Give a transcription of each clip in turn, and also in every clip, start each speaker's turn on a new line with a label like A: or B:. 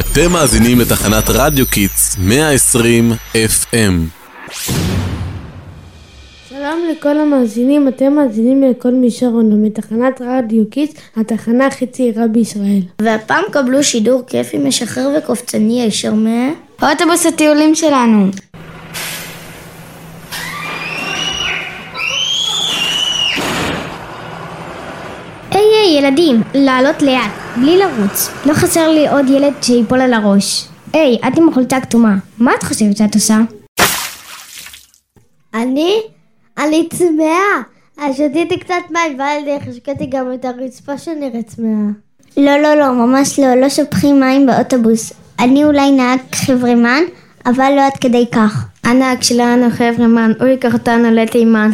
A: אתם מאזינים לתחנת רדיו קיטס 120 FM.
B: שלום לכל המאזינים, אתם מאזינים לכל מי שרון, מתחנת רדיו קיס, התחנה הכי צעירה בישראל.
C: והפעם קבלו שידור כיפי, משחרר וקופצני הישר מה...
D: אוטובוס הטיולים שלנו.
E: היי היי ילדים, לעלות לאט, בלי לרוץ. לא חסר לי עוד ילד שיפול על הראש. היי, את עם החולצה הכתומה, מה את חושבת שאת עושה?
C: אני? אני צמאה. אז שתיתי קצת מים, ואז חשקתי גם את הרצפה שנראית צמאה.
E: לא, לא, לא, ממש לא, לא שופכים מים באוטובוס. אני אולי נהג חברמן, אבל לא עד כדי כך.
C: הנהג שלנו חברמן, הוא ייקח אותנו לתימן.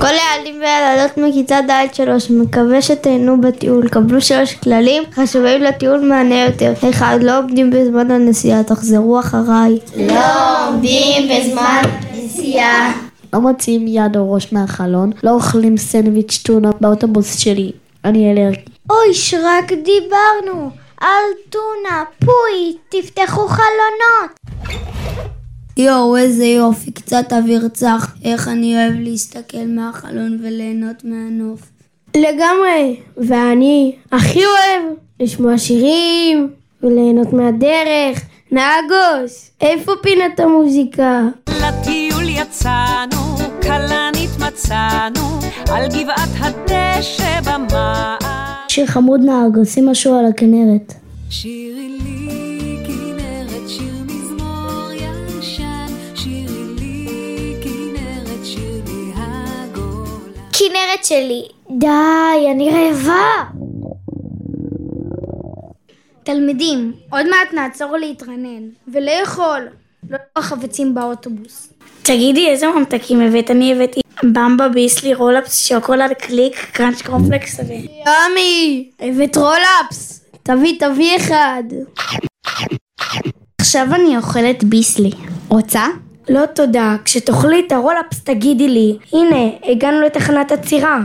C: כל הילדים והילדות מכיתה ד' שלוש, מקווה שתהנו בטיול. קבלו שלוש כללים חשובים לטיול מענה יותר. אחד, לא עומדים בזמן הנסיעה, תחזרו אחריי.
F: לא עומדים בזמן נסיעה.
G: לא מוציאים יד או ראש מהחלון, לא אוכלים סנדוויץ' טונה באוטובוס שלי. אני אלרגי.
C: אוי, שרק דיברנו! על טונה, פוי, תפתחו חלונות!
H: יואו, איזה יופי, קצת אוויר צח. איך אני אוהב להסתכל מהחלון וליהנות מהנוף.
B: לגמרי, ואני הכי אוהב לשמוע שירים וליהנות מהדרך. נהגוס, איפה פינת המוזיקה?
I: לטיול יצאנו, כלנית מצאנו, על גבעת הדשא במעל.
G: שיר חמוד נהג, עושים משהו על הכנרת.
I: שירי לי כנרת, שיר מזמור ישן, שירי לי כנרת, שיר מהגולה.
C: כנרת שלי. די, אני רעבה!
D: תלמידים, עוד מעט נעצור להתרנן ולאכול, לא חפצים באוטובוס.
J: תגידי, איזה ממתקים הבאת? אני הבאתי במבה, ביסלי, רולאפס, שוקולד, קליק, קראנץ' קרופלקס.
B: ימי! הבאת רולאפס! תביא, תביא אחד.
D: עכשיו אני אוכלת ביסלי. רוצה?
B: לא תודה, כשתאכלי את הרולאפס תגידי לי, הנה, הגענו לתחנת עצירה.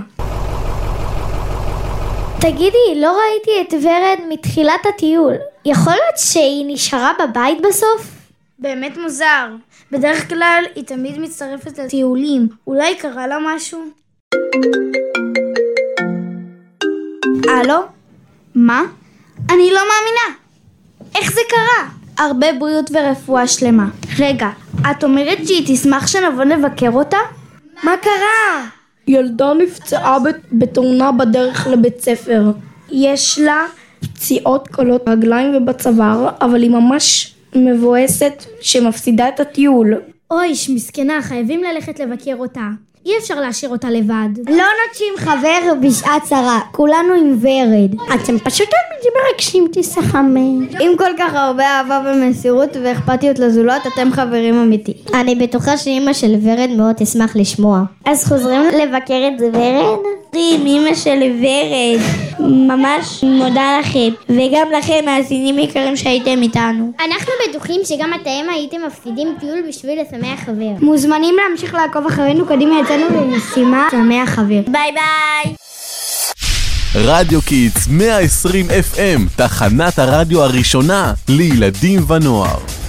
C: תגידי, לא ראיתי את ורד מתחילת הטיול. יכול להיות שהיא נשארה בבית בסוף?
J: באמת מוזר. בדרך כלל היא תמיד מצטרפת לטיולים. אולי קרה לה משהו?
D: הלו? מה? אני לא מאמינה. איך זה קרה? הרבה בריאות ורפואה שלמה. רגע, את אומרת שהיא תשמח שנבוא לבקר אותה? מה קרה?
K: ילדה נפצעה בתאונה בדרך לבית ספר. יש לה פציעות קלות ברגליים ובצוואר, אבל היא ממש מבואסת שמפסידה את הטיול.
E: אוי, מסכנה, חייבים ללכת לבקר אותה. אי אפשר להשאיר אותה לבד.
C: לא נוטשים חבר בשעת צרה, כולנו עם ורד.
B: אתם פשוט מרגשים תסחמם.
C: עם כל כך הרבה אהבה ומסירות ואכפתיות לזולת, אתם חברים אמיתי.
E: אני בטוחה שאימא של ורד מאוד תשמח לשמוע.
C: אז חוזרים לבקר את ורד?
F: עם אימא של ורד, ממש מודה לכם, וגם לכם, מאזינים יקרים שהייתם איתנו.
E: אנחנו בטוחים שגם אתם הייתם מפסידים טיול בשביל לשמח חבר.
B: מוזמנים להמשיך לעקוב אחרינו קדימה יצאנו למשימה שמח חבר.
F: ביי ביי!
A: רדיו קיטס 120 FM, תחנת הרדיו הראשונה לילדים ונוער.